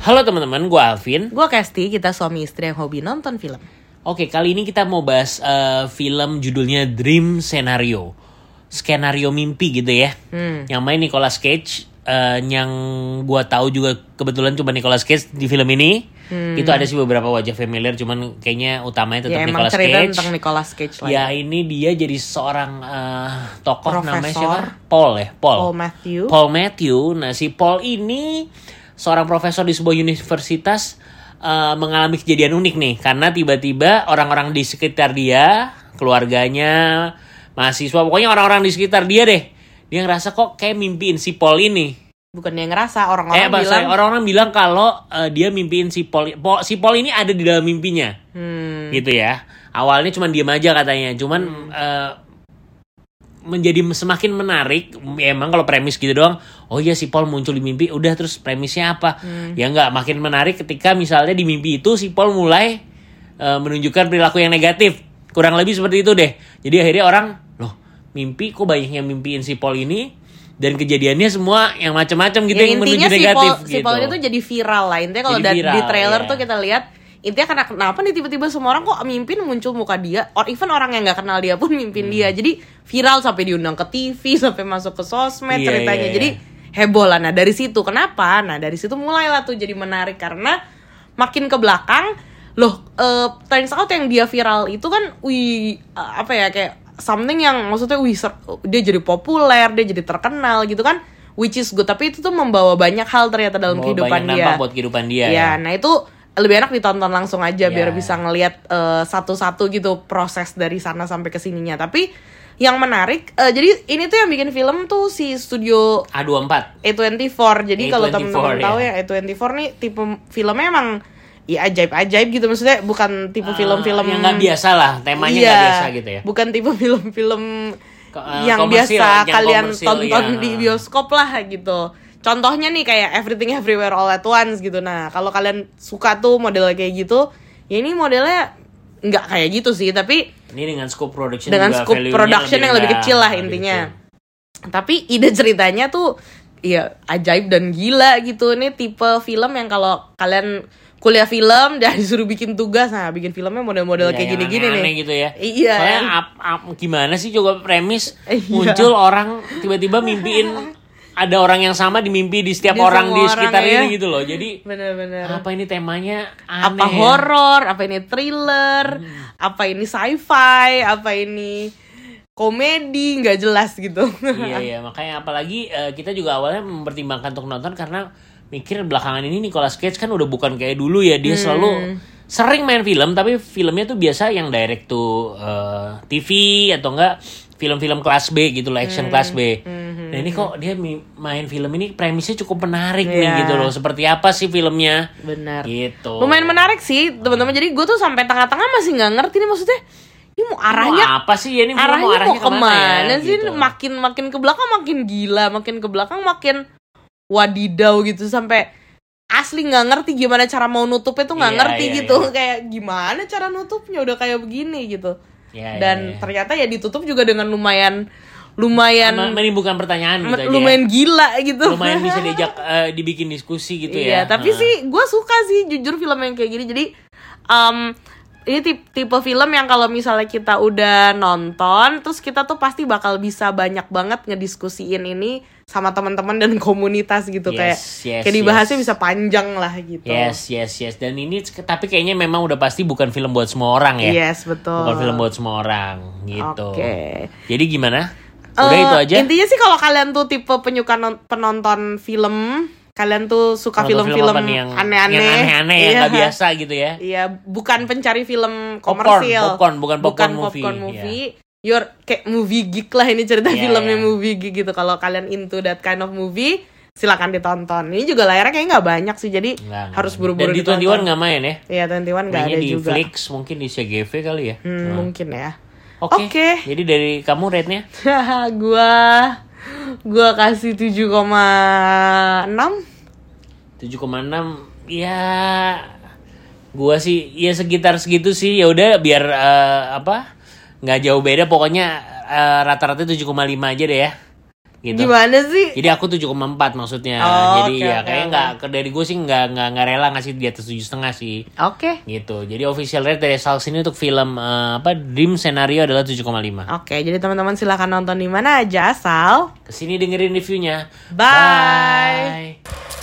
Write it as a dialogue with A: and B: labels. A: Halo teman-teman, gue Alvin.
B: Gue Kesti, kita suami istri yang hobi nonton film.
A: Oke, kali ini kita mau bahas eh, film judulnya Dream Scenario. Skenario mimpi gitu ya.
B: Hmm.
A: Yang main Nicolas Cage, eh, yang gue tahu juga kebetulan cuma Nicolas Cage di film ini. Itu ada sih beberapa wajah familiar, cuman kayaknya utamanya tetap
B: Hmm. ya emang
A: Nicolas
B: cerita
A: Cage.
B: tentang Nicolas Cage lah.
A: Ya ini dia jadi seorang eh, tokoh namanya siapa?
B: Profesor. Oh,
A: Paul ya, Paul.
B: Paul Matthew.
A: Paul Matthew. Nah, si Paul ini seorang profesor di sebuah universitas eh, mengalami kejadian unik nih karena tiba-tiba orang-orang di sekitar dia, keluarganya, mahasiswa, pokoknya orang-orang di sekitar dia deh, dia ngerasa kok kayak mimpiin si Paul ini.
B: Bukan dia ngerasa orang-orang
A: Eh, apa,
B: bilang.
A: sorry, orang-orang bilang kalau eh, dia mimpiin si Paul, Paul- si Paul ini ada di dalam mimpinya
B: Hmm,
A: gitu ya. Awalnya cuman diem aja katanya, cuman eh, menjadi semakin menarik. Ya, Emang kalau premis gitu doang, oh iya si Paul muncul di mimpi, udah terus premisnya apa?
B: Hmm.
A: Ya nggak makin menarik ketika misalnya di mimpi itu si Paul mulai eh, menunjukkan perilaku yang negatif. Kurang lebih seperti itu deh. Jadi akhirnya orang loh mimpi kok banyak yang mimpiin si Paul ini dan kejadiannya semua yang macam-macam gitu
B: ya
A: yang menuju
B: intinya si
A: negatif
B: Paul, si Paul
A: gitu.
B: itu jadi viral lah. Intinya kalau
A: Jadi
B: da- di
A: viral,
B: trailer
A: ya.
B: tuh kita lihat intinya karena kenapa nih tiba-tiba semua orang kok mimpin muncul muka dia or even orang yang nggak kenal dia pun mimpin dia
A: Hmm.
B: jadi viral sampai diundang ke TV sampai masuk ke sosmed
A: Iya,
B: ceritanya
A: iya, iya.
B: jadi heboh lah nah dari situ kenapa nah dari situ mulailah tuh jadi menarik karena makin ke belakang loh eh, turns out yang dia viral itu kan wih eh, apa ya kayak something yang maksudnya wih ser- dia jadi populer dia jadi terkenal gitu kan which is good tapi itu tuh membawa banyak hal ternyata dalam
A: Bahwa
B: kehidupan
A: banyak
B: dia
A: dampak buat kehidupan dia.
B: Iya,
A: ya.
B: nah itu lebih enak ditonton langsung aja
A: Iya.
B: biar bisa ngelihat eh, satu-satu gitu proses dari sana sampai ke sininya. Tapi yang menarik, eh, jadi ini tuh yang bikin film tuh si studio
A: ya. A24
B: A24. Jadi kalau
A: A24,
B: temen-temen
A: ya.
B: tahu ya A24 nih tipe filmnya emang ya ajaib-ajaib gitu maksudnya bukan tipe
A: Ah,
B: film-film
A: yang nggak biasa lah temanya
B: Hmm. Iya,
A: nggak biasa gitu ya
B: Bukan tipe film-film
A: Ko- eh,
B: yang
A: komersil,
B: biasa
A: yang
B: kalian
A: komersil,
B: tonton
A: iya.
B: di bioskop lah gitu. Contohnya nih kayak Everything Everywhere All at Once gitu. Nah, kalau kalian suka tuh modelnya kayak gitu, ya ini modelnya nggak kayak gitu sih, tapi
A: ini dengan scope production
B: dengan
A: juga
B: scope
A: value-nya
B: production yang
A: rendah,
B: lebih
A: gitu. Iya,
B: kecil lah
A: lebih
B: intinya.
A: kecil.
B: Tapi ide ceritanya tuh ya ajaib dan gila gitu. Ini tipe film yang kalau kalian kuliah film dan disuruh bikin tugas, nah bikin filmnya model-model
A: Iya,
B: kayak
A: yang
B: gini-gini
A: aneh-aneh
B: nih.
A: gitu ya
B: Iya.
A: soalnya ap- ap- gimana sih coba premis
B: Iya.
A: muncul orang tiba-tiba mimpiin ada orang yang sama di mimpi di setiap
B: Di
A: orang di
B: semua orang,
A: sekitar
B: ya.
A: ini gitu loh jadi
B: Bener-bener.
A: apa ini temanya aneh
B: apa
A: ya? Hmm.
B: horor, apa ini thriller, apa ini sci-fi, apa ini komedi, nggak jelas gitu.
A: iya iya makanya apalagi eh, kita juga awalnya mempertimbangkan untuk nonton karena mikir belakangan ini Nicolas Cage kan udah bukan kayak dulu ya dia selalu
B: Hmm.
A: sering main film tapi filmnya tuh biasa yang direct to eh, TV atau enggak film-film kelas B gitu loh
B: Hmm.
A: action kelas B.
B: Mhm,
A: Nah ini kok dia mi- main film ini premisnya cukup menarik nih
B: Iya.
A: gitu loh seperti apa sih filmnya
B: Benar.
A: gitu.
B: Lumayan menarik sih, teman-teman. Jadi gue tuh sampai tengah-tengah masih nggak ngerti nih maksudnya. Ini mau arahnya
A: Mau apa sih ya ini film
B: arahnya mau,
A: ya,
B: kemana, sih
A: gitu.
B: makin makin ke belakang makin gila makin ke belakang makin wadidau gitu sampai asli nggak ngerti gimana cara mau nutupnya tuh nggak
A: Iya,
B: ngerti
A: iya,
B: gitu
A: iya.
B: kayak gimana cara nutupnya udah kayak begini gitu
A: Iya, iya,
B: dan
A: iya.
B: ternyata ya ditutup juga dengan lumayan lumayan
A: Ma- menimbulkan pertanyaan gitu aja ya.
B: lumayan gila gitu
A: lumayan bisa diajak eh, dibikin diskusi gitu
B: iya,
A: ya.
B: tapi
A: Heeh.
B: sih gue suka sih jujur film yang kayak gini. Jadi em, ini tip- tipe, film yang kalau misalnya kita udah nonton, terus kita tuh pasti bakal bisa banyak banget ngediskusiin ini sama teman-teman dan komunitas gitu
A: Yes,
B: kayak
A: yes,
B: kayak dibahasnya
A: yes.
B: bisa panjang lah gitu.
A: Yes, yes, yes. Dan ini c- tapi kayaknya memang udah pasti bukan film buat semua orang ya.
B: Yes, betul.
A: Bukan film buat semua orang gitu.
B: Iya. Oke.
A: Jadi gimana? Udah
B: Eh,
A: itu aja.
B: Intinya sih kalau kalian tuh tipe penyuka non- penonton film, kalian tuh suka
A: Nonton
B: film-film
A: apaan yang
B: aneh-aneh.
A: yang aneh-aneh yang
B: Iya.
A: nggak biasa gitu ya.
B: Iya, bukan pencari film
A: Popcorn,
B: komersil.
A: popcorn, bukan popcorn movie,
B: movie. Your kayak movie geek lah ini cerita
A: Iya,
B: filmnya
A: iya.
B: movie geek gitu. Kalau kalian into that kind of movie, silakan ditonton. Ini juga layarnya kayaknya nggak banyak sih, jadi
A: Nggak, nggak.
B: harus buru-buru
A: Dan di 21 nggak main ya?
B: Iya, 21 nggak
A: Mainnya
B: ada
A: di
B: juga.
A: Flix, mungkin di CGV kali ya.
B: Hmm, mungkin ya.
A: Oke.
B: Oke.
A: Jadi dari kamu rate-nya?
B: gua gua kasih
A: 7,6
B: 7,6.
A: ya gua sih ya sekitar segitu sih ya udah biar eh, apa nggak jauh beda pokoknya eh, rata-rata 7,5 aja deh ya gitu
B: Gimana sih?
A: jadi aku 7,4 maksudnya
B: Oh,
A: jadi
B: oke,
A: ya
B: oke,
A: kayaknya
B: oke.
A: nggak dari gue sih nggak nggak nggak rela ngasih di atas tujuh setengah sih
B: Oke.
A: gitu jadi official rate dari Salx ini untuk film eh, apa dream scenario adalah 7,5
B: Oke, jadi teman-teman silahkan nonton di mana aja asal
A: kesini dengerin reviewnya
B: Bye.
A: bye.